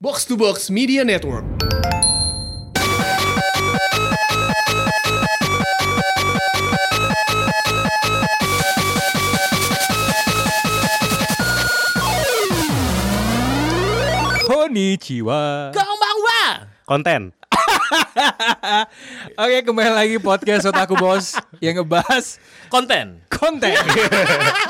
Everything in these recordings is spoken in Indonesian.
Box to Box Media Network. Konnichiwa Konbanwa. konten Oke kembali lagi podcast Otaku Bos Yang ngebahas konten. konten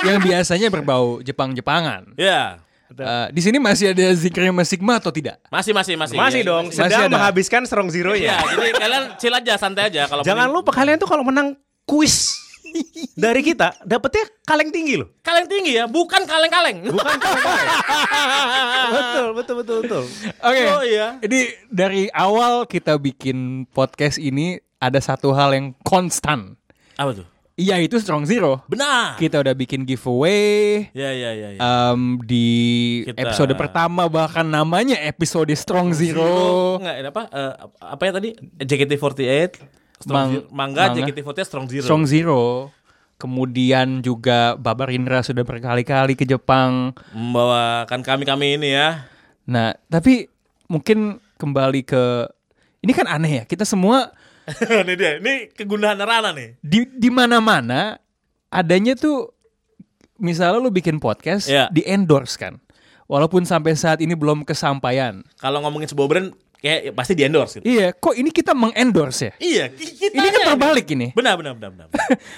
Yang biasanya berbau Jepang-Jepangan Ya. Eh, Di sini masih ada zikirnya Mas Sigma atau tidak? Masih masih masih. masih Iya, dong masih sedang ada. menghabiskan serong zero Iya, nya jadi kalian chill aja, santai aja kalau jangan mending- lupa kalian tuh kalau menang kuis dari kita dapetnya kaleng tinggi loh kaleng tinggi ya, bukan kaleng-kaleng. bukan kaleng-kaleng. Ah. betul betul betul betul Oke Oh, iya. Jadi dari awal kita bikin podcast ini Ada satu hal yang konstan Apa tuh? Yaitu Strong Zero Benar. Kita udah bikin giveaway Ya ya ya ya. Em, di Kita- episode pertama bahkan namanya episode Strong Zero, Enggak, apa eh, apa ya tadi? JKT48 Strong Mang- Zero. Mangga manga. JKT48 Strong Zero. Strong Zero. Kemudian juga Babar Indra sudah berkali-kali ke Jepang. Membawakan kami-kami ini ya. Nah, tapi mungkin kembali ke ini kan aneh ya. Kita semua ini dia. Ini kegundahan Rana nih. di di mana-mana adanya tuh misalnya lu bikin podcast Iya. di endorse kan. Walaupun sampai saat ini belum kesampaian. Kalau ngomongin sebuah brand kayak pasti di endorse gitu. Iya, kok ini kita mengendorse ya? Iya, kita Ini kan aja terbalik ini. Benar benar benar benar.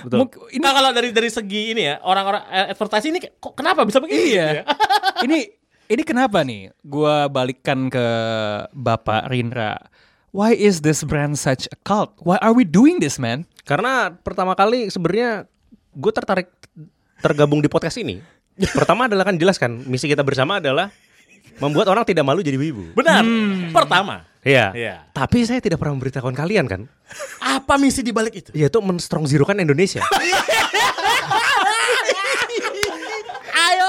Mungkin- ini Nah, kalau dari dari segi ini ya, orang-orang eh, advertising ini kok kenapa bisa begini? Iya. gitu ya? ini ini kenapa nih? Gua balikkan ke Bapak Rindra. Why is this brand such a cult? Why are we doing this, man? karena pertama kali sebenarnya gue tertarik tergabung di podcast ini pertama adalah kan jelas kan misi kita bersama adalah membuat orang tidak malu jadi wibu Benar. Hmm. Pertama, Iya. Iya. Tapi saya tidak pernah memberitahukan kalian kan, apa misi di balik itu? yaitu menstrong zero kan Indonesia. Ayo.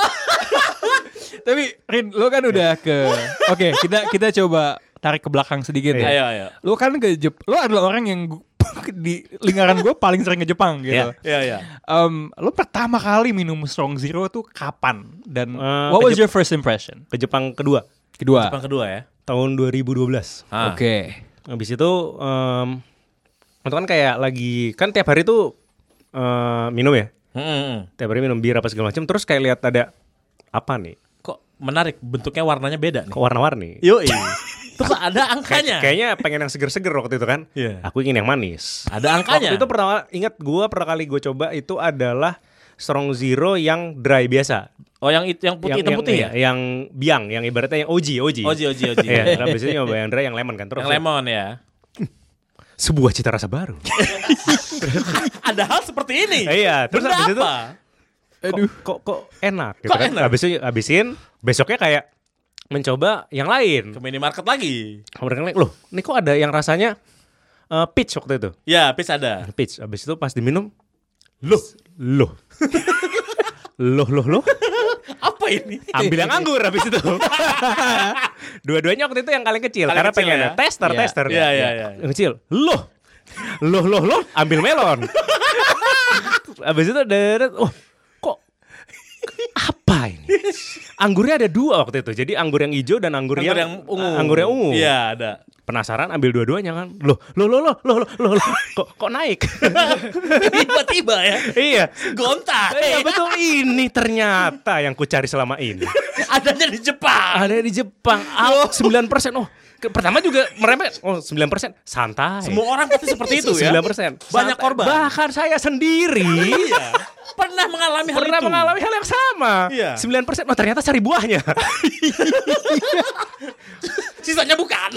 Tapi Rin, lo kan udah ke Oke, kita kita coba tarik ke belakang sedikit Iya. ya. Ayo, ayo. Lo kan ke Jep- lo adalah orang yang gu- di lingkaran gue paling sering ke Jepang gitu. Iya. Ya ya. Em, lo pertama kali minum Strong Zero tuh kapan dan Eh, what ke was Jep- your first impression? Ke Jepang kedua Kedua. Yang kedua ya. tahun 2012. Ah. Oke. Habis itu em itu kan kayak lagi kan tiap hari tuh eh, minum ya. Mm-mm. Tiap hari minum bir apa segala macam terus kayak lihat ada apa nih? Kok menarik bentuknya warnanya beda nih. Kok warna-warni? Yo Terus ada angkanya. Kayak- Kayaknya pengen yang seger-seger waktu itu kan. Iya. Aku ingin yang manis. Ada angkanya. Waktu itu pertama ingat gua pertama kali gue coba itu adalah Strong Zero yang dry biasa. oh yang itu yang putih yang, hitam yang- putih iya, ya? Yang biang, yang ibaratnya yang OG, OG. Oji oji oji. Iya, karena biasanya nyoba yang dry yang lemon kan terus. Yang lemon ya. Sebuah cita rasa baru. Ada hal seperti ini. Iya, terus Benda habis itu- apa? Aduh. Kok, kok enak gitu Kok kan. enak? Habis itu habisin, besoknya kayak mencoba yang lain. Ke minimarket lagi. Kemudian yang lain, loh, ini kok ada yang rasanya eh, peach waktu itu. Ya, pis ada. Peach. Habis itu pas diminum, loh, loh. loh, loh, loh. Apa ini? Ambil yang anggur habis itu. Dua-duanya waktu itu yang paling kecil Paling karena kecil pengen ya. ada tester, Iya. tester. Iya, iya, iya. Yang kecil. Loh. Loh, loh, loh, ambil melon. habis itu deret, wah, kok apa ini? Anggurnya ada dua waktu itu. Jadi anggur yang hijau dan anggur, Anggur yang ungu. Anggur yang ungu. Iya, ada. Penasaran ambil dua-duanya kan. Loh, loh, loh, loh, loh, loh, loh, loh. Kok kok naik? Tiba-tiba ya. iya. Gonta. Iya betul ini ternyata yang ku cari selama ini. Adanya di Jepang. Ada di Jepang. Oh, 9%. Oh, ke- pertama juga merempet. Oh, 9%. Santai. Semua orang pasti seperti itu ya. Banyak 9%. Santai. korban. Bahkan saya sendiri Iya. Pernah mengalami hal pernah itu. mengalami hal yang sama. Iya. 9%. Oh, ternyata cari buahnya. Sisanya bukan.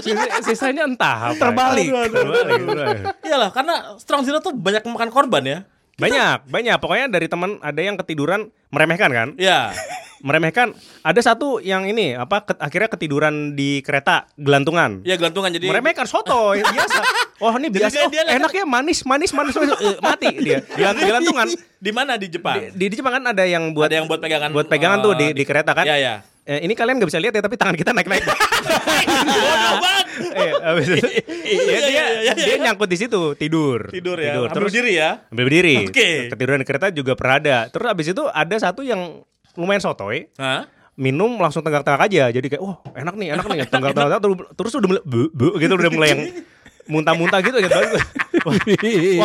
Sisanya entah apa. ya. Terbalik. Terbalik, terbalik. Iyalah, karena Strong Zero tuh banyak memakan korban ya. Banyak, banyak. Pokoknya dari teman ada yang ketiduran meremehkan kan? Iya. Meremehkan. Ada satu yang ini apa ke- akhirnya ketiduran di kereta gelantungan. Iya gelantungan jadi meremehkan soto biasa. Oh ini Jadi biasa. dia- Oh, dia- enak ya manis manis manis, manis. Eh, mati dia. Gelant, gelantungan. Di mana di Jepang? Di, di Jepang kan ada yang buat Ada yang buat pegangan, buat pegangan eh, tuh di, di- di kereta kan. Iya, iya. Eh, ini kalian nggak bisa lihat ya tapi tangan kita naik naik. Bodoh banget. eh, abis Iya, itu, ya, dia, iya, iya, iya. dia nyangkut di situ tidur. Tidur ya. Ambil Terus diri ya. Ambil berdiri. Oke. Ketiduran di kereta juga perada. Terus abis itu ada satu yang lumayan sotoy. Hah? minum langsung tenggak-tenggak aja. Jadi kayak wah enak nih, enak nih. Tenggak-tenggak terus, terus udah mulai bu, bu, gitu udah mulai yang muntah-muntah gitu gitu. Wah,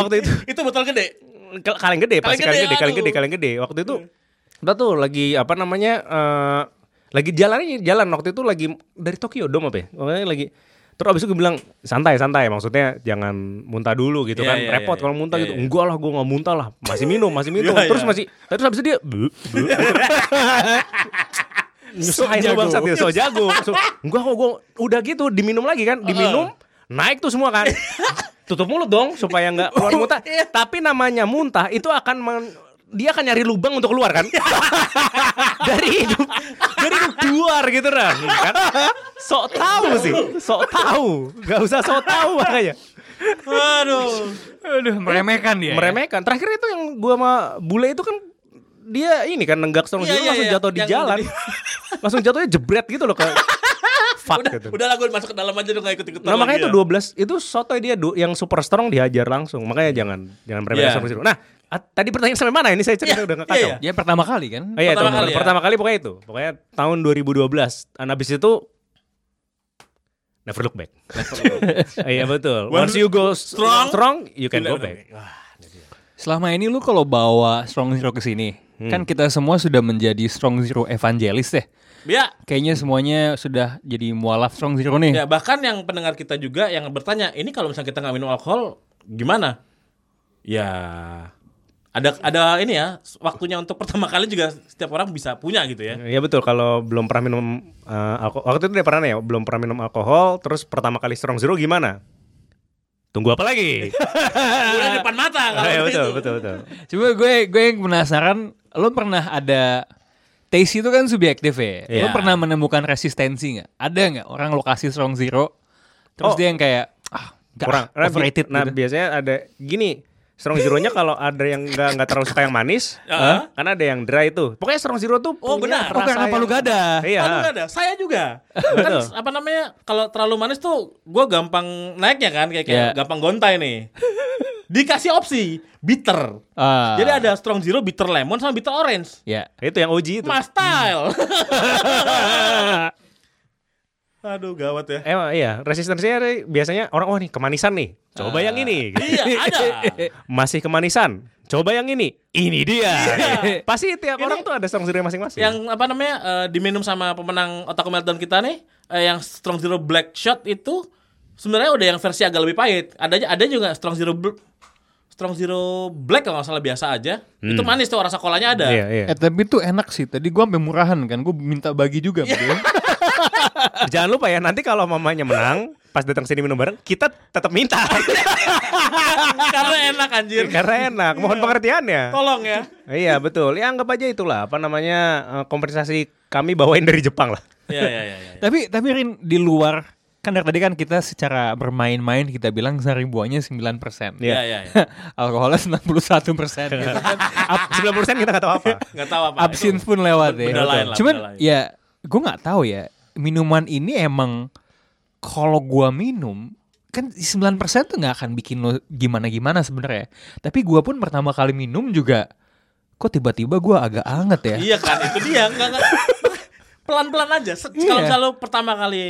waktu itu Itu botol gede. Kal- kaleng gede pasti kaleng Kaleng gede, gede kaleng gede aduh. kaleng gede waktu itu Hmm. udah tuh lagi apa namanya eh lagi jalan jalan waktu itu lagi dari Tokyo Dome apa ya Pokoknya lagi terus abis itu gue bilang santai santai maksudnya jangan muntah dulu gitu Iya, kan iya, repot iya. kalau muntah Iya, gitu iya. enggak lah gue nggak muntah lah masih minum masih minum Iya, terus iya. masih terus abis itu dia "Bu, bu." nyusahin jago. lu bangsat ya so jago so, enggak kok gue udah gitu diminum lagi kan diminum naik tuh semua kan tutup mulut dong supaya nggak keluar muntah tapi namanya muntah itu akan men- dia akan nyari lubang untuk keluar kan dari hidup dari hidup keluar gitu kan kan sok tahu sih sok tahu nggak usah sok tahu makanya Aduh. Aduh, meremehkan dia. ya. Iya, meremehkan terakhir itu yang gua sama bule itu kan dia ini kan nenggak Iya, strong gitu iya, langsung iya. jatuh di Yang jalan langsung jatuhnya jebret gitu loh ke fuck Udah, gitu udah ya. lah gue masuk ke dalam aja udah gak ikut ikutan. Nah makanya itu 12 itu sotoy dia du- yang super strong dihajar langsung. Makanya jangan jangan meremehkan Iya. super strong. Nah, at- tadi pertanyaan sampai mana ini saya cerita Iya, udah nggak iya, kacau. iya. Ya pertama kali kan? Oh, iya, Pertama itu, kali ya. pertama kali pokoknya itu. Pokoknya tahun 2012. Dan habis itu never look back. Iya betul. Once you go strong, strong, strong you can go back. Selama ini lu kalau bawa Strong Zero ke sini, Hmm. kan kita semua sudah menjadi Strong Zero evangelis deh. Ya, Kayaknya semuanya sudah jadi mualaf Strong Zero nih. ya bahkan yang pendengar kita juga yang bertanya, ini kalau misalnya kita nggak minum alkohol gimana? Ya ada ada ini ya waktunya untuk pertama kali juga setiap orang bisa punya gitu ya. Iya betul kalau belum pernah minum alkohol waktu itu udah pernah ya belum pernah minum alkohol terus pertama kali strong zero gimana? Tunggu apa lagi? Udah di depan mata kalau Iya begitu. betul betul betul. Cuma gue gue yang penasaran, lu pernah ada taste itu kan subjektif ya. Lu Iya. pernah menemukan resistensi nggak? Ada nggak orang lokasi Strong Zero terus Oh. dia yang kayak ah nggak, kurang ah, overrated nah gitu. biasanya ada gini strong zero-nya kalau ada yang nggak nggak terlalu suka yang manis eh, Heeh. karena ada yang dry tuh pokoknya strong zero tuh Oh, punya Ah. benar. Oh, karena yang- palu gada. iya Palu nggak ada, saya juga. kan Betul. apa namanya? Kalau terlalu manis tuh gue gampang naiknya kan kayak, kayak Iya. gampang gontai nih. Dikasih opsi bitter. Ah, Jadi ada strong zero, bitter lemon sama bitter orange. ya. itu yang OG itu Mas style. Hmm. Aduh gawat ya. emang iya resistensinya ada- biasanya orang wah nih kemanisan nih gitu. coba yang ini Iya ada. masih kemanisan coba yang ini ini dia Iya. pasti tiap orang tuh ada strong zero masing-masing yang apa namanya eh, diminum sama pemenang Otaku Meltdown kita nih, eh, yang Strong Zero Black Shot itu sebenarnya udah yang versi agak lebih pahit. Ada ada juga Strong Zero Bl- Strong Zero Black kalau nggak salah biasa aja. Itu manis tuh rasa kolanya ada. iya, iya. Eh tapi itu enak sih. Tadi gua sampai murahan kan. Gue minta bagi juga Iya. sama dia. Jangan lupa ya nanti kalau mamanya menang pas datang sini minum bareng kita tetap minta Karena enak anjir. karena enak mohon pengertiannya Iya. Tolong ya. Iya betul. Ya anggap aja itulah apa namanya eh, kompensasi kami bawain dari Jepang lah. Iya iya iya. iya. tapi tapi Rin di luar kan dari tadi kan kita secara bermain-main kita bilang saribuannya 9%. Iya. Iya iya. iya. Ya, Alkoholnya 91 persen. Gitu. Ap- 90% kita nggak tahu apa. Nggak tahu apa. Absin itu. pun lewat ya. Benda lain lah, Cuman benda lain. ya gue nggak tahu ya minuman ini emang kalau gua minum kan 9% tuh nggak akan bikin lo gimana-gimana sebenarnya. Tapi gua pun pertama kali minum juga kok tiba-tiba gua agak anget ya. Iya kan itu dia. Nggak, nggak. Pelan-pelan aja. Se- Iya. Kalau selalu pertama kali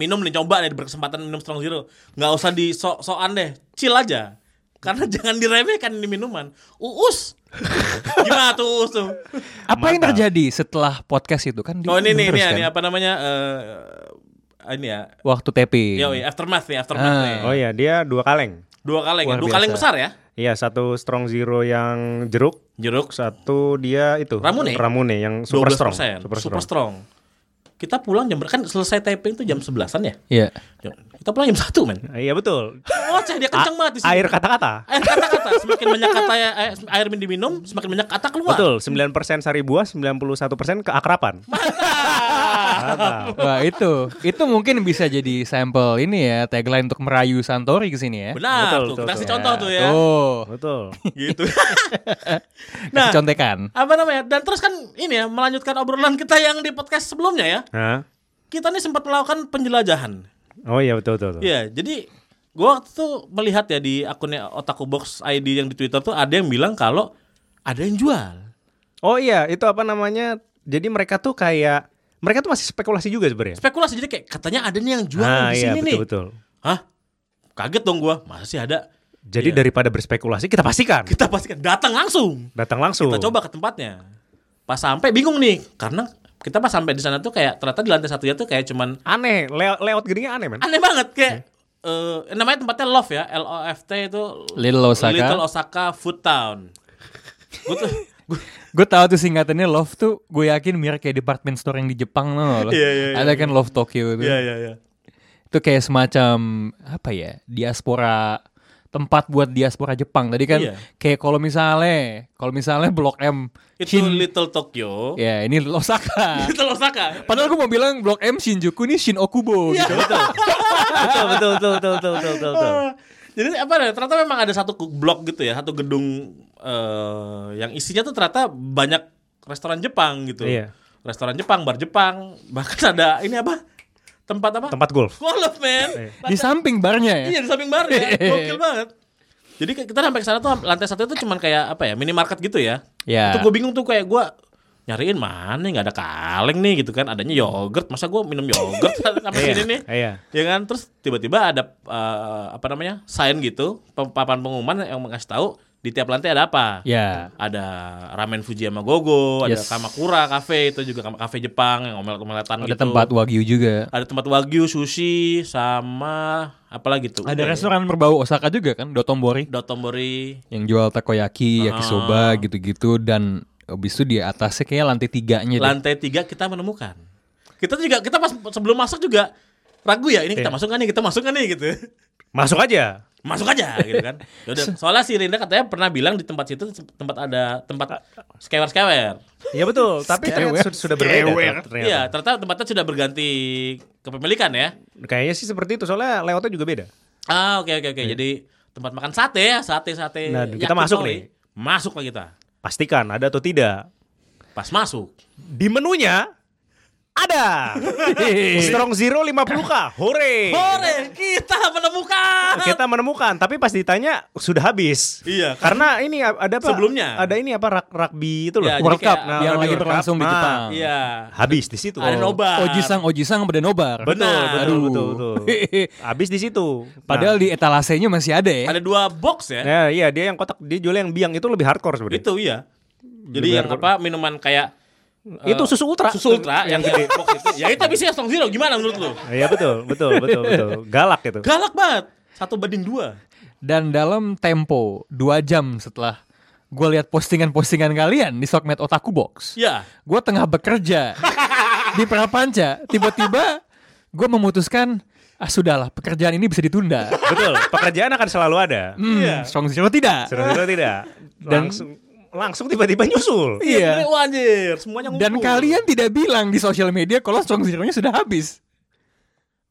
minum nih coba nih berkesempatan minum strong zero nggak usah di sok-sokan deh chill aja karena jangan diremehkan ini minuman uus gimana tuh uus tuh Apa yang terjadi setelah podcast itu kan? di- oh ini nih ini, terus ya, kan? ini apa namanya eh ini ya Waktu tepi. yo iya. aftermath nih aftermath Iya. Ah. nih Oh iya dia dua kaleng. dua kaleng ya. Luar dua kaleng biasa. besar ya Iya satu strong zero yang jeruk, jeruk satu dia itu Ramune. Ramune yang super strong. 12%. Super strong. kita pulang jam ber- kan selesai taping tuh jam 11-an ya Iya. kita pulang jam satu men Iya betul. Ngoceh dia kenceng banget di sini. Air kata-kata. Air kata-kata semakin banyak kata ya, air, air diminum semakin banyak kata keluar. Betul, 9% sari buah, 91% keakrapan. Mantap. Nah, Wah itu, itu mungkin bisa jadi sampel ini ya tagline untuk merayu Santori ke sini ya. Benar Betul, tuh. betul, Kita kasih betul. contoh tuh ya. Tuh, Betul. Gitu. nah, nah, contekan. apa namanya? Dan terus kan ini ya melanjutkan obrolan kita yang di podcast sebelumnya ya. Hah? Kita nih sempat melakukan penjelajahan. Oh iya betul betul. betul. Iya, jadi gua waktu itu melihat ya di akunnya Otaku Box ID yang di Twitter tuh ada yang bilang kalau ada yang jual. Oh iya, itu apa namanya jadi mereka tuh kayak mereka tuh masih spekulasi juga sebenarnya. Spekulasi jadi kayak katanya ada nih yang jual Ah, di iya, sini nih. betul-betul. Hah? Kaget dong gua. Masa sih ada? Jadi Iya. daripada berspekulasi kita pastikan Kita pastikan datang langsung. datang langsung. Kita coba ke tempatnya. Pas sampai bingung nih karena kita pas sampai di sana tuh kayak ternyata di lantai satunya tuh kayak cuman Aneh, le- layout gedenya aneh men. aneh banget kayak eh, namanya tempatnya Love ya L O F T itu Little Osaka. Little Osaka Food Town Gua tuh- gua- Gue tahu tuh singkatannya Love tuh gue yakin mirip kayak department store yang di Jepang loh. Iya, iya, iya. Ada kan Love Tokyo itu. Iya iya iya. Itu kayak semacam apa ya? Diaspora tempat buat diaspora Jepang. Tadi kan Iya. kayak kalau misalnya, kalau misalnya Blok M Itu Shin- Little Tokyo. Ya, ini Osaka. Little Osaka. Padahal gue mau bilang Blok M Shinjuku ini Shin Okubo Iya. gitu. betul, betul, betul, betul, betul, betul, betul, betul. Jadi apa ya? Ternyata memang ada satu ku- blok gitu ya, satu gedung eh, yang isinya tuh ternyata banyak restoran Jepang gitu. Iya. Restoran Jepang, bar Jepang, bahkan ada ini apa? Tempat apa? Tempat golf. Golf, Iya. man. Di samping barnya ya. Iya di samping bar ya, gokil banget. Jadi kayak kita sampai ke sana tuh lantai satu itu cuman kayak apa ya minimarket gitu ya. Ya. Iya. Itu gue bingung tuh kayak gue nyariin mana nih nggak ada kaleng nih gitu kan adanya yogurt masa gue minum yogurt sampai Iya, sini nih iya. ya kan terus tiba-tiba ada eh, apa namanya sign gitu pe- papan pengumuman yang mengasih tahu di tiap lantai ada apa Ya. ada ramen Fujiyama Gogo Yes. ada kamakura cafe itu juga kam- cafe Jepang yang Ada omelet-omeletan gitu tempat wagyu juga. ada tempat wagyu sushi sama apalagi tuh Ada Udah ya. restoran berbau Osaka juga kan, Dotombori. Dotombori yang jual takoyaki, Ah. yakisoba gitu-gitu dan habis itu di atasnya kayak lantai tiganya deh. lantai tiga kita menemukan. Kita juga kita pas sebelum masuk juga ragu ya Iya. ini kita masuk kan nih kita masuk kan nih gitu. Masuk aja. Masuk aja gitu kan. Yaudah, soalnya si Rinda katanya pernah bilang di tempat situ tempat ada tempat skewer-skewer. Iya betul, tapi ternyata sudah, sudah berbeda ternyata. Iya, ternyata tempatnya sudah berganti kepemilikan ya. Kayaknya sih seperti itu soalnya layoutnya juga beda. Ah, oke oke oke. Jadi tempat makan sate ya, sate-sate. Iya. Nah, kita masuk nih. Masuk lah kita. Pastikan ada atau tidak. Pas masuk. Di menunya ada Strong Zero 50k. Hore. Hore, kita menemukan. Kita menemukan, tapi pas ditanya sudah habis. Iya, Karena ini ada apa? Sebelumnya. Ada ini apa rak rugby itu loh. Iya, jadi World Cup kayak- Nah, yang Rugby lagi World Cup, berlangsung di nah, Jepang. Iya. Habis di situ. Ada nobar. Ojisang, Ojisang pada nobar. Betul, Benar. betul, Aduh. betul, betul. Habis di situ. Padahal Nah, di etalasenya masih ada ya. Ada dua box ya. Nah, iya dia yang kotak, dia jual yang biang itu lebih hardcore sebenarnya. Itu iya. Jadi yang apa minuman kayak Itu susu ultra. eh, susu ultra yang gede box itu. Ya itu bisa strong zero gimana menurut lu? Iya betul, betul, betul, betul. Galak gitu. Galak banget. Satu banding dua. Dan dalam tempo dua jam setelah gue lihat postingan-postingan kalian di sosmed Otaku Box, Ya. gue tengah bekerja di Prapanca, tiba-tiba gue memutuskan ah sudahlah pekerjaan ini bisa ditunda. betul. Pekerjaan akan selalu ada. Hmm, Iya. Strong Zero tidak. Sudah sudah tidak. Dan- langsung langsung tiba-tiba nyusul. Iya. Wah anjir, semuanya ngumpul. Dan kalian tidak bilang di sosial media kalau strong zero-nya sudah habis.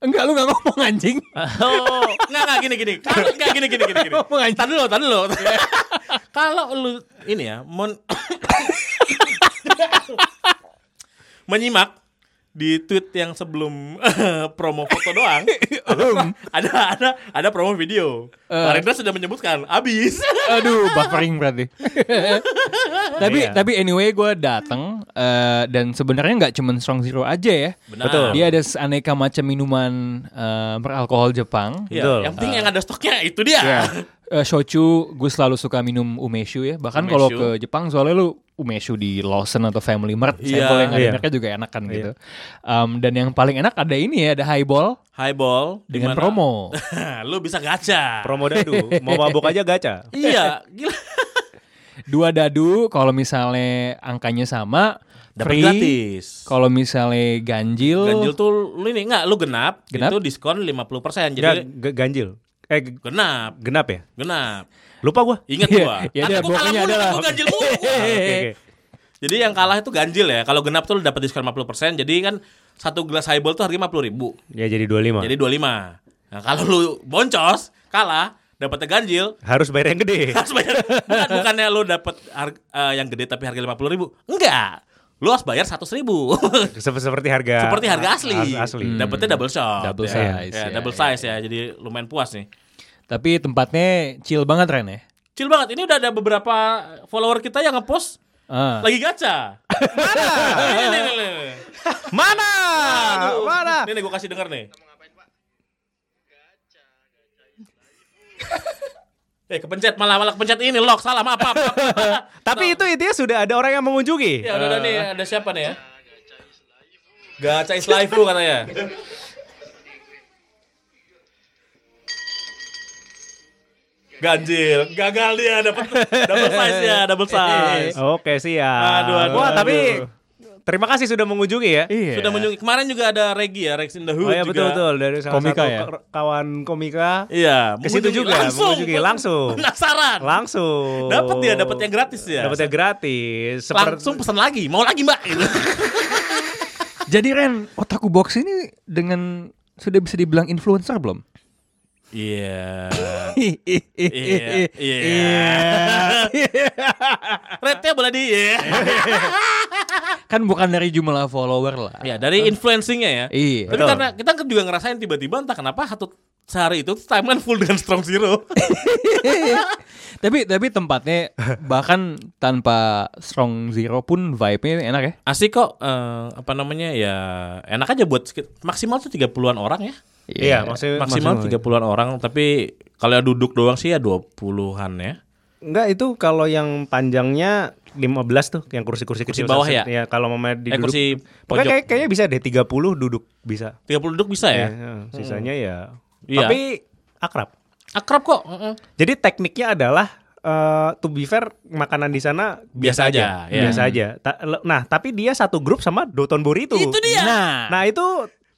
Enggak, lu gak ngomong anjing. Oh, enggak enggak gini gini. Kalau enggak gini gini gini gini. Ngomong anjing. Tadi lo, tadi lo. Kalau lu ini ya, mon menyimak di tweet yang sebelum promo foto doang ada ada ada promo video. Eh. Pak Rendra sudah menyebutkan habis. Aduh, buffering berarti. tapi Iya. tapi anyway gue datang eh, dan sebenarnya nggak cuman strong zero aja ya. Benar. Betul. Dia ada aneka macam minuman eh, beralkohol Jepang. Ya, Betul. Yang penting Ah. yang ada stoknya itu dia. Eh, shochu, gue selalu suka minum umeshu ya. Bahkan kalau Umeshu. ke Jepang soalnya lu umeshu di Lawson atau Family Mart, Iya. sampel yang ada Iya. mereka juga enak kan gitu. Em, dan yang paling enak ada ini ya, ada highball Highball dengan dimana- promo. lu bisa gacha. Promo dadu, mau mabok aja gacha. iya, gila. dua dadu kalau misalnya angkanya sama Dapat free gratis. kalau misalnya ganjil, Ganjil tuh lu ini enggak lu genap, Genap? itu diskon 50%. Enggak Jadi g- ganjil. Eh g- genap, genap ya? genap. Lupa gua. Ingat Iya, gua. iya, Nanti iya, gua kalah pokoknya mulu, adalah- gua ganjil mulu. gua. Oke, oke. jadi yang kalah itu ganjil ya. Kalau genap tuh lu dapat diskon 50%. Jadi kan satu gelas highball tuh harganya 50 ribu. Ya jadi 25. Jadi 25. Nah, kalau lu boncos, kalah, dapatnya ganjil, Harus bayar yang gede. harus bayar bukan bukannya lo dapet harga, eh, yang gede tapi harga lima puluh ribu enggak lo harus bayar seratus ribu Sep- Seperti harga seperti harga asli Hmm. Harga asli. dapetnya double shot Double ya. size, Ya, ya, double ya. size ya jadi lumayan puas nih tapi tempatnya chill banget Ren ya. chill banget ini udah ada beberapa follower kita yang ngepost Ah. Lagi gacha. Mana? Nih, nih, nih, nih, nih. Mana? Aduh. Mana? Nih, nih gue kasih denger nih. Eh, kepencet malah malah kepencet ini lock salah maaf maaf. maaf, maaf. Tapi itu intinya sudah ada orang yang mengunjungi. Ya udah, udah nih ada siapa nih ya? Gacha is life lu katanya. Ganjil, gagal dia dapat double size ya, double size. Oke, siap. Aduh, aduh, Wah, tapi aduh. terima kasih sudah mengunjungi ya. Iya. Sudah menjungi. Kemarin juga ada Regi ya, Rex in the Hood Oh ya juga. betul betul dari salah Komika satu ya? k- kawan komika Iya, Ke situ mengunjungi. juga, mengunjungi, langsung. Penasaran. langsung Dapat dia, dapat yang gratis ya. dapat yang gratis seperti langsung pesan lagi, mau lagi Mbak. Gitu. Jadi Ren, otaku box ini dengan sudah bisa dibilang influencer belum? Iya. Iya. Iya. Rate-nya boleh di. Iya. Kan bukan dari jumlah follower lah. Ya dari influencingnya ya. Iya. Tapi Betul. karena kita juga ngerasain tiba-tiba entah kenapa satu sehari itu timeline full dengan Strong Zero. tapi tapi tempatnya bahkan tanpa strong zero pun vibe-nya enak ya. Asik kok eh, apa namanya ya enak aja buat sekit- maksimal tuh 30-an orang ya. iya maksud Maksimal maksud- 30-an orang tapi kalau yang duduk doang sih ya 20-an ya. enggak itu kalau yang panjangnya 15 tuh yang kursi-kursi Kursi kecil bawah ya? set- ya kalau mama Eh duduk kursi pokoknya pojok kayak, kayaknya bisa deh 30 duduk bisa 30 duduk bisa ya. Ya, sisanya ya Iya. tapi akrab Akrab kok. heeh. Jadi tekniknya adalah eh to be fair makanan di sana biasa, Biasa aja, aja, ya. biasa aja. Ta- le- nah, tapi dia satu grup sama Dotonbori itu. Itu dia. Nah, Nah, itu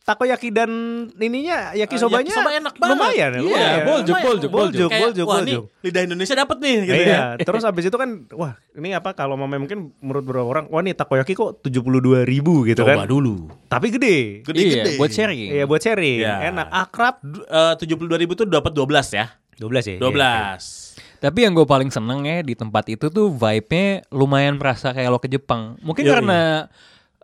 takoyaki dan ininya yakisobanya yakisoba Eh, Iya, enak banget. lumayan, ya, Iya, boljuk, lumayan. Lumayan. boljuk, boljuk. Kayak, boljuk, wah boljuk. nih lidah Indonesia dapat nih gitu iya, ya. terus abis itu kan wah, ini apa kalau mama mungkin menurut beberapa orang, wah nih takoyaki kok 72.000 gitu Coba kan. dulu. Tapi gede. iya, Gede-gede. buat sharing. Iya buat sharing, Iya. enak, akrab. eh, tujuh puluh dua ribu tuh dapat 12 ya 12 ya. 12 Tapi yang gue paling seneng ya di tempat itu tuh vibe-nya lumayan merasa kayak lo ke Jepang. Mungkin Yoi. karena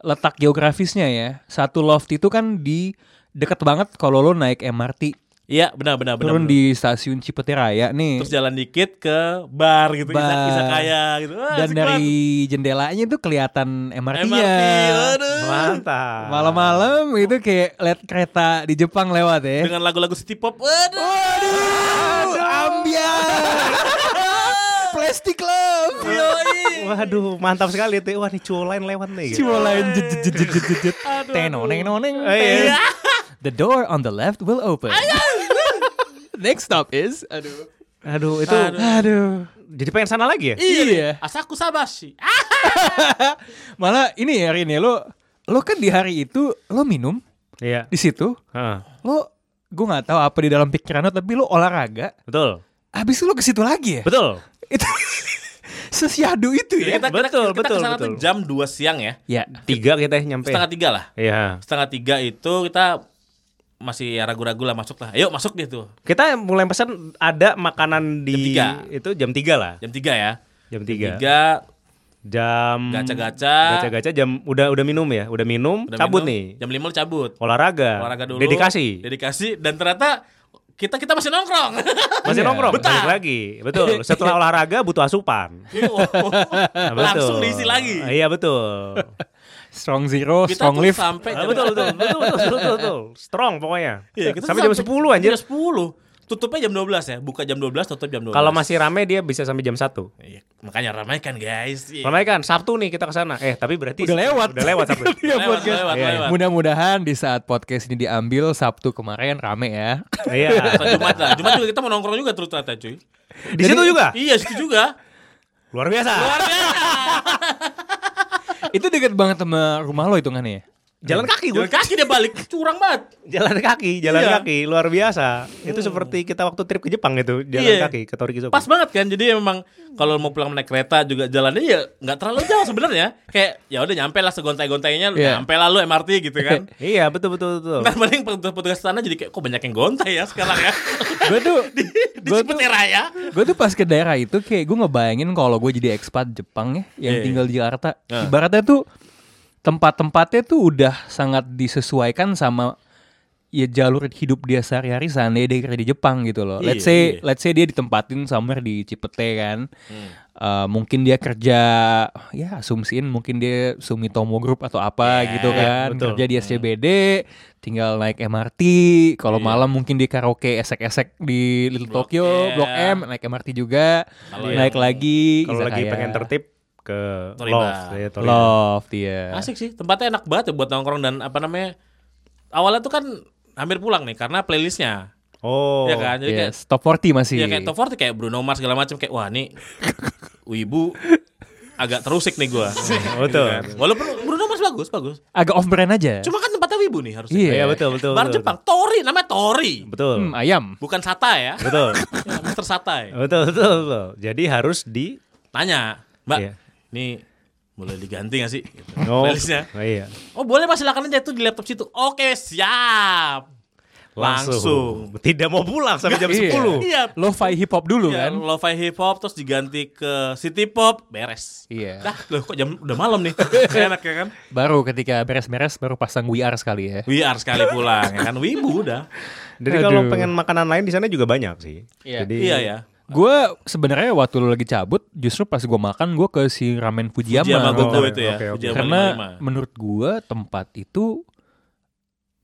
letak geografisnya ya. Satu loft itu kan di deket banget kalau lo naik MRT Iya benar benar benar. turun benar. di stasiun Cipete Raya nih. terus jalan dikit ke bar gitu, Bar. isak izakaya gitu. Wah, Dan asik dari jendelanya tuh kelihatan banget. MRT-nya. MRT, aduh. Mantap. Malam-malam itu kayak lihat kereta di Jepang lewat ya. dengan lagu-lagu city pop. Waduh. Aduh, ambiar. Plastic love. Yoi. Waduh, mantap sekali itu. Wah, ini cuo lain lewat nih. gitu. Cuma lain jet jet jet jet jet jet. Tenoneng noneng. Oh, Eh, iya. The door on the left will open. Next stop is aduh. Aduh, itu Aduh. jadi pengen sana lagi ya? Iya. Asaku Sabashi. Ah, Malah ini ya Rin ya lo lo kan di hari itu lo minum Iya. di situ Heeh, lo gue nggak tahu apa di dalam pikiran lo tapi lo olahraga betul. habis itu lo ke situ lagi ya Betul. itu sesiadu itu ya kita, Iya, betul, kita, kita betul, kesana tuh betul. jam 2 siang ya. ya Tiga kita nyampe. Setengah tiga lah. Iya. Setengah tiga itu kita masih ya ragu-ragu lah masuk lah. Ayo masuk deh tuh. Kita mulai pesan ada makanan di tiga. itu jam tiga lah. Jam 3 ya. Jam Tiga. tiga. Jam Gaca-gaca. Gaca-gaca jam udah udah minum ya, udah minum, Udah cabut minum, nih. Jam 5 lu cabut. Olahraga. Olahraga dulu. Dedikasi. Dedikasi dan ternyata kita kita masih nongkrong. Masih Iya. nongkrong Betah. balik lagi. Betul. Setelah olahraga butuh asupan. Nah, betul. Iya, Langsung diisi lagi. Iya, betul. strong zero Kita strong tuh lift sampai Ah, jam betul, betul, betul, betul, betul, betul, betul. Strong pokoknya. Iya, kita tuh sampai jam 10 anjir. Jam 10. Tutupnya jam 12 ya. Buka jam 12, tutup jam 12. Kalau masih rame dia bisa sampai jam 1. Iya, makanya ramaikan guys. Iya. Ramai kan Sabtu nih kita ke sana. Eh, tapi berarti Udah lewat. Udah lewat Sabtu. Iya, Lewat, podcast. lewat, Iya, iya. lewat. Mudah-mudahan di saat podcast ini diambil Sabtu kemarin rame ya. Iya. Atau Jumat lah. Jumat juga kita mau nongkrong juga terus ternyata cuy. Di situ juga. Iya, situ juga. Luar biasa. itu deket banget sama rumah lo hitungannya ya? Jalan kaki Jalan gue. kaki dia balik, curang banget. Jalan kaki, jalan Iya. Hmm. kaki, luar biasa. Itu seperti kita waktu trip ke Jepang itu, jalan Iya. kaki ke Torikizo. Pas banget kan. Jadi memang kalau mau pulang naik kereta juga jalannya ya nggak terlalu jauh sebenarnya. Kayak ya udah nyampe lah segontai-gontainya, Iya. nyampe lah lu MRT gitu kan. Iya, betul betul betul. Ntar paling petugas-petugas sana jadi kayak kok banyak yang gontai ya sekarang ya. Gue tuh, Di gue tuh, Cipete Raya. gua tuh pas ke daerah itu kayak gue ngebayangin kalau gue jadi ekspat Jepang ya, yang Iya. tinggal di Jakarta. Ah. Ibaratnya tuh tempat-tempatnya tuh udah sangat disesuaikan sama ya jalur hidup dia sehari-hari seandainya dia kerja di Jepang gitu loh. Let's Iya, say iya. let's say dia ditempatin somewhere di Cipete kan. Eh, mungkin dia kerja ya asumsiin mungkin dia Sumitomo Group atau apa gitu kan. betul. Kerja di SCBD, tinggal naik MRT, kalau malam mungkin dia karaoke esek-esek di Little Tokyo, M. Blok M, naik MRT juga. Kalau naik yang- lagi Kalau lagi izakaya. pengen tertib ke Toriba. Loft, ya, Toriba. Love iya. dia. Ya. Asik sih, tempatnya enak banget ya buat nongkrong dan apa namanya Awalnya tuh kan hampir pulang nih karena playlistnya Oh. Ya kan, Yes, jadi kayak Iya, top 40 masih. Ya kayak top 40 kayak Bruno Mars segala macam kayak wah nih wibu agak terusik nih gua. Gitu kan. Betul. Walaupun Bruno Mars bagus, bagus. Agak off brand aja. Cuma kan tempatnya wibu nih harusnya. Iya. Iya, betul, betul. Bar betul, Jepang, Tori namanya Tori. Betul. Hmm, ayam. Bukan Sata ya. Betul. Ya, Mister Sata ya. Betul, betul, betul. Jadi harus di Tanya, Mbak, Iya. nih boleh diganti gak sih? Gitu. Oh, Playlistnya. oh iya. Oh boleh mas silakan aja itu di laptop situ. Oke siap. Langsung. Tidak mau pulang sampai jam 10. Iya. Lo-fi hip hop dulu Ya, kan. lo-fi hip hop terus diganti ke city pop beres. Iya. Dah, loh kok jam udah malam nih. Enak ya kan? Baru ketika beres-beres baru pasang We Are sekali ya. We are sekali pulang ya kan wibu udah. Jadi kalau Aduh. pengen makanan lain di sana juga banyak sih. Iya. Jadi Iya ya. Gue sebenarnya waktu lo lagi cabut, justru pas gue makan gue ke si ramen Fujiyama. Fujiyama Oh. Gogo itu ya. oke, oke. Fujiyama Karena 55. menurut gue tempat itu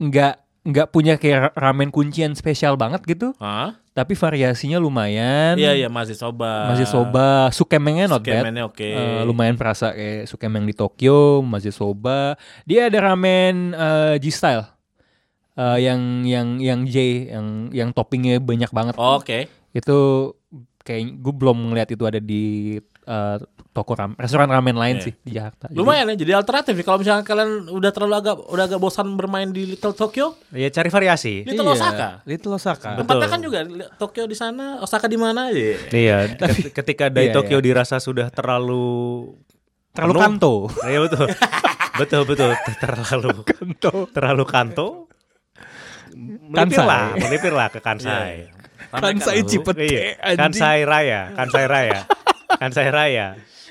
nggak nggak punya kayak ramen kuncian spesial banget gitu, Hah? tapi variasinya lumayan. Iya iya masih soba. kan Masih soba, sukemengnya not bad. Sukemennya oke. Eh, lumayan perasa kayak sukemeng di Tokyo, masih soba. Dia ada ramen eh, G-style. Eh, yang yang yang J yang yang toppingnya banyak banget. Oke. Itu kayak gue belum ngeliat itu ada di eh, toko ramen, restoran ramen lain Iya. sih di Jakarta. Jadi- Lumayan ya jadi alternatif ya. kalau misalnya kalian udah terlalu agak udah agak bosan bermain di Little Tokyo. ya cari variasi. Iya, Little Osaka. Little Osaka. Tempatnya kan juga li- Tokyo di sana, Osaka di mana aja. Iya, ket- ketika dari Iya, Tokyo iya. dirasa sudah terlalu Terlalu penuh. kanto. Iya betul. betul betul terlalu kanto. Terlalu kanto. Melipirlah, Kansai. melipirlah ke Iya, Kansai. Kan Kansai Cipete, Iya, anjing. Kansai Raya, Kansai Raya. Kansai Raya.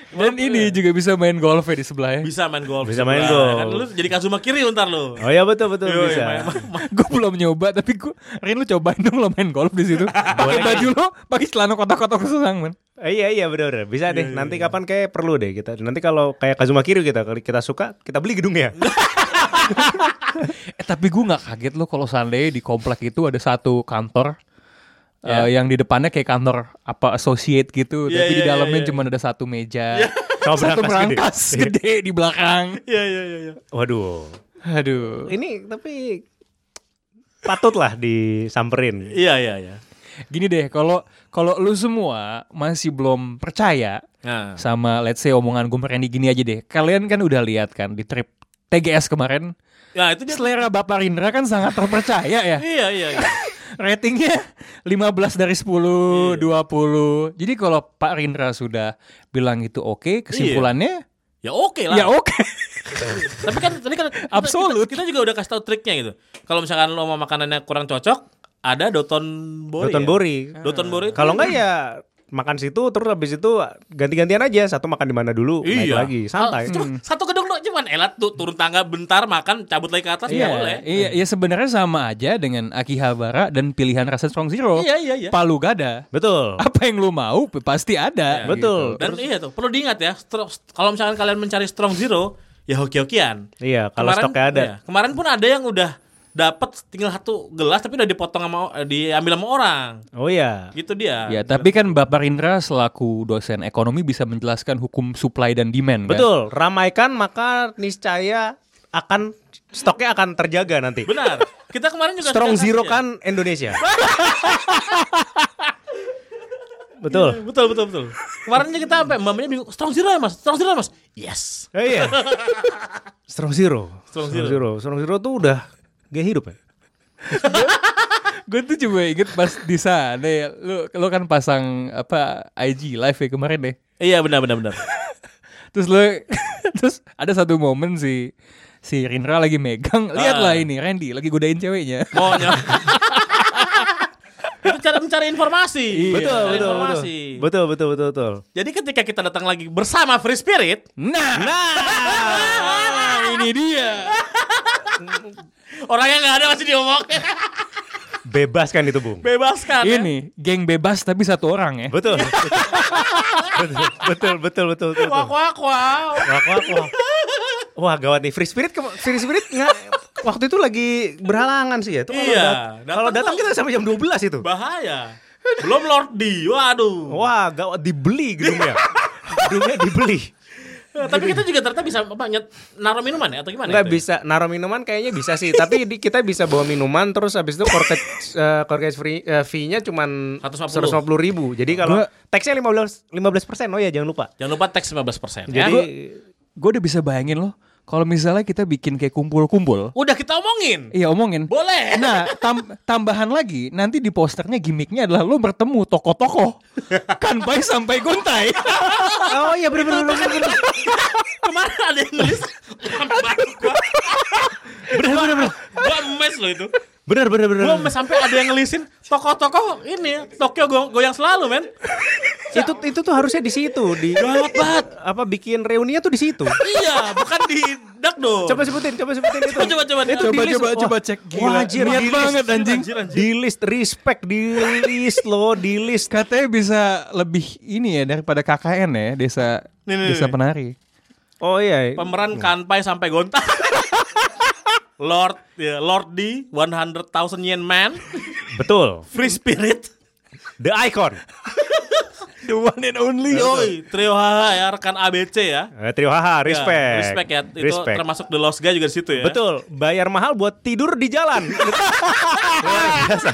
Dan ini juga bisa main golf ya di sebelahnya. Bisa main golf. Bisa juga. main golf. Kan lu jadi Kazuma Kiri ntar lu. Oh iya betul betul Yoi, bisa. main- main- main- gue belum nyoba tapi gue Rin lu cobain dong lo main golf di situ pakai baju lo pakai celana kotak-kotak susang man Eh, iya iya benar benar bisa deh. Nanti kapan kayak perlu deh kita. Nanti kalau kayak Kazuma Kiryu kita kalau kita suka kita beli gedungnya. eh, tapi gue nggak kaget lo kalau seandainya di komplek itu ada satu kantor eh, yang di depannya kayak kantor apa associate gitu Iya, tapi di iya, dalamnya iya, iya. cuma ada satu meja Sama satu berangkas Ya. berangkas gede. Iya. Ya. gede. di belakang Iya iya iya. iya. Waduh. aduh Ini tapi patutlah disamperin. Iya iya iya. gini deh kalau kalau lu semua masih belum percaya Nah. sama let's say omongan gue Randy gini aja deh kalian kan udah lihat kan di trip TGS kemarin Ya itu dia. selera Bapak Rindra kan sangat terpercaya ya. Iya iya. iya. Ratingnya 15 dari 10, 20. Jadi kalau Pak Rindra sudah bilang itu oke, kesimpulannya Ya oke lah. ya oke. Tapi kan tadi kan kita- Absolut. Kita, kita juga udah kasih tahu triknya gitu. Kalau misalkan lo mau makanannya kurang cocok, ada Doton Bori. Doton ya? Bori. Doton Bori. itu- Kalau enggak ya makan situ terus habis itu ganti-gantian aja satu makan di mana dulu naik Iya. lagi santai. Hmm. Al- cuma Satu gedung lo cuman elat tuh turun tangga bentar makan cabut lagi ke atas ya boleh. Iya, iya, ya sebenarnya sama aja dengan Akihabara dan pilihan rasa Strong Zero. Iya, iya, iya. Palu gada. Betul. Apa yang lu mau pasti ada. Iya, gitu. betul. Dan iya tuh perlu diingat ya. stro- Kalau misalkan kalian mencari strong zero, ya hoki-hokian. Iya, kalau Kemarin- stoknya ada. iya, kemarin pun ada yang udah dapat tinggal satu gelas tapi udah dipotong sama eh, diambil sama orang. Oh iya. Gitu dia. Ya, tapi kan Bapak Rindra selaku dosen ekonomi bisa menjelaskan hukum supply dan demand kan? Betul, ramaikan maka niscaya akan stoknya akan terjaga nanti. Benar. Kita kemarin juga Strong sudah Zero kasih ya. kan Indonesia. Betul. Betul betul betul. Kemarin aja kita sampai mamanya bingung. Strong zero ya mas, strong zero ya mas. Yes. Oh iya. Strong Zero. Strong Strong Zero. Strong Zero tuh udah gaya hidup ya. Gue tuh cuma inget pas di sana ya, lu, lu kan pasang apa IG live ya kemarin deh. Iya benar benar benar. Terus lu terus ada satu momen si si Rindra lagi megang, lihatlah ini Randy lagi godain ceweknya. Maunya. ya. Itu cara mencari informasi. Iya. Betul, Mencari betul, betul. informasi. Betul, betul, betul, betul. Jadi ketika kita datang lagi bersama Free Spirit, Ah, Nah, nah ini dia. Orangnya nggak ada masih diomongin. Bebas kan itu, Bung? Bebaskan. ya. Ini geng bebas tapi satu orang ya. Betul. betul, betul, betul, betul. Wak betul. wak wow. Wah, wah, wah. Wah, gawat nih. Free Spirit, ke- Free Spirit nggak waktu itu lagi berhalangan sih ya. Itu kalau Iya, dat- datang kalau datang tuh- kita sampai jam 12 itu. Bahaya. Belum Lord D. Waduh. Wah, gawat dibeli gedungnya. gedungnya dibeli. Tapi kita juga ternyata bisa apa, nyet, naruh minuman ya atau gimana? itu Nggak ya? bisa naruh minuman kayaknya bisa sih, tapi di- kita bisa bawa minuman terus habis itu corkage eh, corkage free eh, fee-nya cuman 150. 150 ribu. Jadi kalau Gua- teksnya 15 15% oh ya jangan lupa. Jangan lupa teks 15% Jadi ya. Gue udah bisa bayangin loh. Kalau misalnya kita bikin kayak kumpul-kumpul. Eh, Udah kita omongin. Iya omongin. Boleh. Nah tam- tambahan lagi nanti di posternya gimmicknya adalah lo bertemu tokoh-tokoh. Kanpai sampai guntai. oh iya benar benar benar. Kemarin ada yang nulis Bener bener bener Gue emes loh itu Benar benar benar. Gue emes sampai ada yang ngelisin Tokoh-tokoh ini Tokyo go- goyang selalu men itu itu tuh harusnya di situ di Gawat banget. apa bikin reuninya tuh di situ Iya bukan di Dakdo coba sebutin coba sebutin itu Oh, Coba, coba, itu coba, di list. coba, Wah, coba cek. Gila, wah, anjir, niat di list. banget, anjing. Anjir, anjir. di list respect di list lo di list Katanya bisa lebih ini ya daripada KKN ya desa Nih, nih, desa nih. penari. oh iya Pemeran kanpai sampai gonta Lord ya, Lord D 100,000 yen man betul Free spirit the icon The one and only. Yoi Trio HH ya Rekan ABC ya Eh, trio haha Ya, respect Respect ya Itu Respect. termasuk The Lost Guy juga di situ ya Betul, bayar mahal buat tidur di jalan. luar biasa,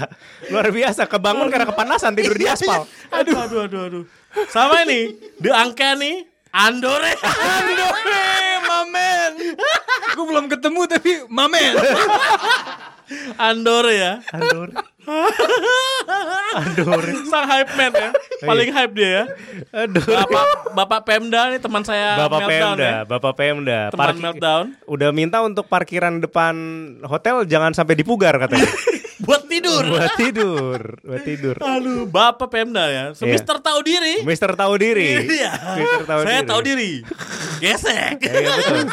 luar biasa. Kebangun karena kepanasan tidur di aspal. Aduh, aduh, aduh, aduh. Sama ini, di angka nih, Andore. Andore, eh, mamen. Gue belum ketemu tapi mamen. Andore ya. Aduh, Andore. Iya. Sang hype man ya. Paling hype dia ya. aduh. Bapak, Bapak Pemda nih teman saya Bapak meltdown Pemda, ya. Bapak Pemda. Teman meltdown. Udah minta untuk parkiran depan hotel jangan sampai dipugar katanya. Buat tidur. buat tidur, buat tidur. Aduh, Bapak Pemda ya. Semister tahu diri. Mister tahu diri. Iya. Iya. Mister tahu saya diri. tahu diri. Gesek. Iya, betul.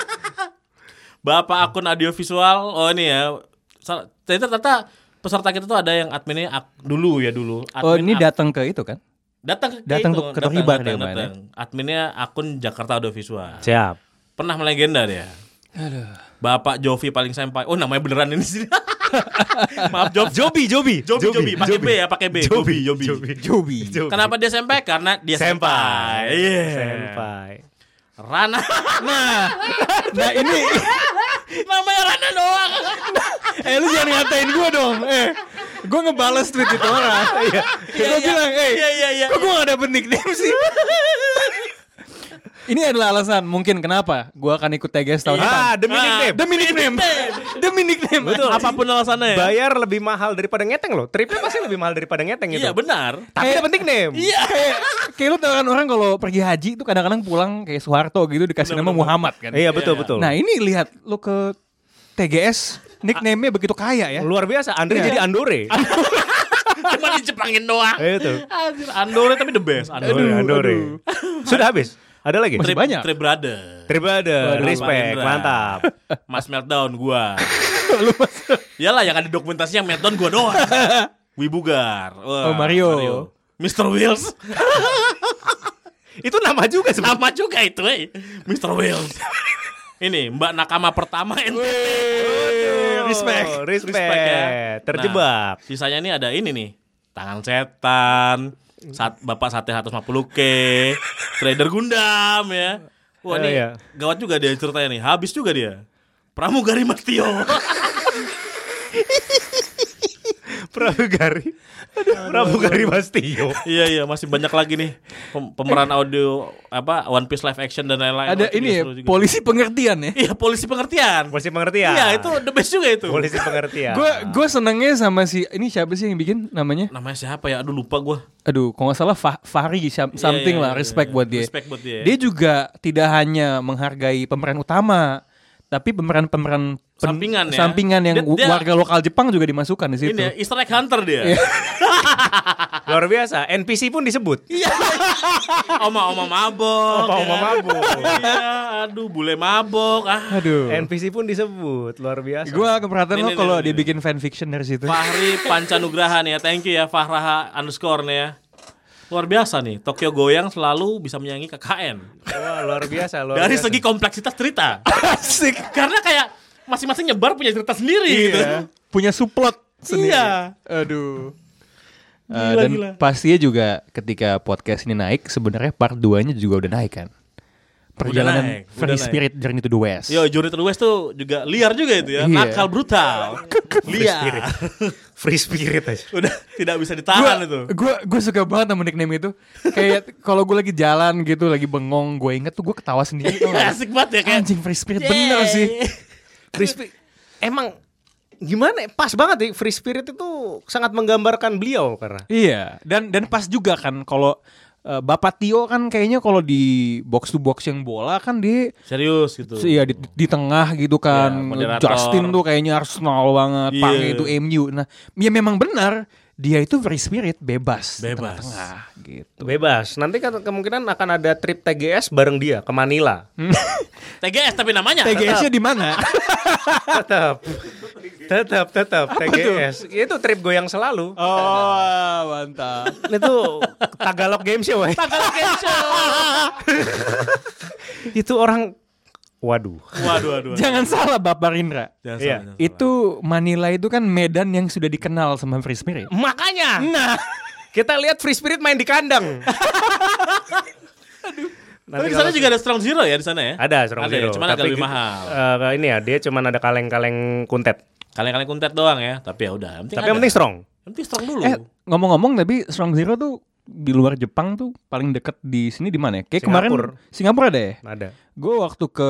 Bapak akun audiovisual. Oh ini ya. Sa- Ternyata ternyata peserta kita tuh ada yang adminnya ak- dulu ya dulu. Oh ini admin datang ke itu kan? datang ke- Datang itu, ke- ke terlibat ya, datang, dia main, datang. adminnya akun Jakarta Audiovisual Siap. pernah melegenda dia Bapak Jovi paling sampai oh namanya beneran ini sih maaf Jovi Jobi, Jobi. Jobi, Jobi, pakai B ya, pakai B. Jobi, Jobi, Jobi. Jobi. kenapa dia sampai karena dia Senpai. sampai iya Senpai. Rana Nah ini, namanya Rana doang eh lu jangan ngatain gue dong. Eh, gue ngebales tweet itu orang. Iya, Gue iya. bilang, eh, Iya, iya, iya. kok gue gak dapet nickname sih? ini adalah alasan mungkin kenapa gue akan ikut TGS tahun depan. Ah, demi Ah. nickname. Demi nickname. Demi nickname. apapun alasannya ya Bayar lebih mahal daripada ngeteng loh. Tripnya pasti lebih mahal daripada ngeteng itu. iya benar Tapi Eh, dapat nickname. iya kayak kayak lu tau kan orang kalau pergi haji tuh kadang-kadang pulang kayak Soeharto gitu dikasih nama Muhammad kan. Iya, betul, betul. Nah ini lihat lu ke TGS nickname-nya begitu kaya ya. luar biasa Andre Iya. jadi Andore. cuma dijepangin doang Eh, itu. Anjir, Andore tapi the best Andore, Andore Andore. Sudah habis. Ada lagi? Masih Trip, banyak. Trip Brother Tribada, Waduh, respect, Mahendra. mantap. Mas Meltdown gua. Iyalah yang ada dokumentasinya Meltdown gua doang. Wibugar. Oh, Wah, Mario. Mr. Wheels. Itu nama juga sebenarnya. Nama juga itu, eh. Mr. Wheels. Ini Mbak Nakama pertama NTT. respect. respect, ya. Terjebak. Nah, sisanya ini ada ini nih. Tangan setan. Sat, Bapak Sate 150K. Trader Gundam ya. Wah, Eh, ini iya. gawat juga dia ceritanya nih. Habis juga dia. Pramugari Matio. Pramugari. Pramugari Bastio. Iya iya masih banyak lagi nih pem- pemeran audio apa One Piece live action dan lain-lain. Ada Oh, ini ya, seru juga. polisi pengertian ya. Iya polisi pengertian. Polisi pengertian. Iya itu the best juga itu. Polisi Iya. pengertian. Gue gue senengnya sama si ini siapa sih yang bikin namanya? Namanya siapa ya? Aduh lupa gua. Aduh, kalau nggak salah Fa- Fahri sam- something iya, lah. iya, Respect iya. buat dia. Respect buat dia. Dia juga tidak hanya menghargai pemeran utama, tapi pemeran-pemeran pen- Sampingan ya. sampingan yang Dia- dia- ya, warga lokal Jepang juga dimasukkan di situ. Ini ya, Easter egg hunter dia. Luar biasa. NPC pun disebut. Iya. Oma-oma mabok. ya Oma-oma kan? mabok. Iya, aduh bule mabok. Ah, Aduh. NPC pun disebut. Luar biasa. Gue keberatan Nih, lo nih, kalau nih, dia nih. bikin fanfiction dari situ. Fahri Pancanugraha nih ya. Thank you ya Fahraha underscore nih ya. Luar biasa nih, Tokyo Goyang selalu bisa menyanyi KKN. Wah, luar biasa. Luar Dari biasa. segi kompleksitas cerita. Asik. Karena kayak masing-masing nyebar punya cerita sendiri gitu. Iya. Punya suplot sendiri. Iya. Aduh. Eh, Gila, dan gila. pastinya juga ketika podcast ini naik sebenarnya part 2-nya juga udah naik kan. Perjalanan naik, udah Free naik. Spirit Journey to the West. Yo, Johnny Terwes tuh juga liar juga itu ya. Iya. Nakal brutal. liar. Free spirit aja. Udah tidak bisa ditahan itu. Gue gue suka banget sama nickname itu. Kayak kalau gue lagi jalan gitu, lagi bengong, gue inget tuh gue ketawa sendiri. tau gak? Asik banget ya kayak. Anjing Free Spirit Yeay. bener sih. Free spirit. Emang gimana? ya? Pas banget nih. Free spirit itu sangat menggambarkan beliau karena. Iya, dan dan pas juga kan kalau eh, Bapak Tio kan kayaknya kalau di box to box yang bola kan dia Serius gitu. Iya di, di tengah gitu Ya, kan moderator. Justin tuh kayaknya Arsenal banget Iya. Pang itu MU Nah ya memang benar Dia itu free spirit Bebas di Bebas. Tengah-tengah gitu Bebas. Nanti kan kemungkinan akan ada trip TGS bareng dia ke Manila. TGS tapi namanya. TGS-nya di mana? tetap. Tetap, tetap tuh? TGS. Itu trip goyang selalu. oh mantap Itu Tagalog ya, Game Show, woy. Tagalog Game Show. Itu orang waduh. Waduh, waduh. Jangan salah Bapak Rindra Jangan Iya. salah, jangan Itu Manila itu kan medan yang sudah dikenal sama free spirit Iya. Makanya Nah kita lihat Free Spirit main di kandang. Tapi Nanti di sana kalau- juga ada Strong Zero ya di sana ya? ada Strong ya, Zero. cuman agak Tapi lebih gitu, mahal. eh, ini ya, dia cuman ada kaleng-kaleng kuntet. Kalian-kalian kuntet doang ya, tapi ya udah. Yang penting Tapi yang ada. penting strong. Yang penting strong dulu. Eh ngomong-ngomong tapi Strong Zero tuh di luar Jepang tuh paling deket di sini di mana ya? Kayak Singapura. kemarin Singapura ada ya? Ada. Gue waktu ke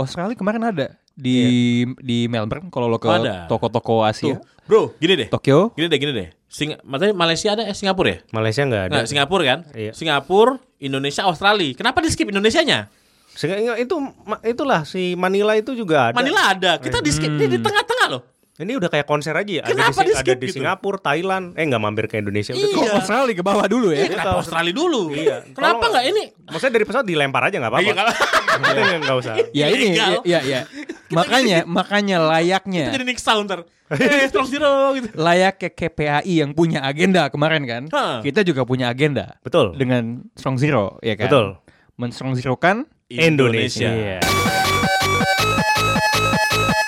Australia kemarin ada di di Melbourne kalau lo ke Iya. Ada. toko-toko Tuh. Asia, Bro, gini deh. Tokyo. Gini deh, gini deh. Sing maksudnya Malaysia ada eh Singapura ya? Malaysia nggak ada. Nggak, Singapura kan? Iya. Singapura, Indonesia, Australia. Kenapa di skip Indonesianya? Singa- ingat, itu ma- itulah si Manila itu juga ada. Hmm. Manila ada. Kita di skip ini di tengah-tengah loh. Ini udah kayak konser aja ya. Kenapa ada di, Sing- di-skip ada di gitu? Singapura, Thailand. Eh nggak mampir ke Indonesia. Udah Iya. Kok Australia ke bawah dulu Iya, Eh, ya? kenapa Australia dulu? Kenapa Tolong- nggak ini? Maksudnya dari pesawat dilempar aja nggak Iya, apa-apa. kalau- Maksudnya Nggak usah. Iya, ya ini, Ilegal. ya ya. ya. makanya makanya Itu layaknya jadi Nick Sound ntar. Eh, Strong Zero gitu. layaknya KPAI yang punya agenda kemarin kan. Hah. Kita juga punya agenda Betul. dengan Strong Zero ya kan. Betul. Iya. Men Strong Zero kan Indonesia. Iya.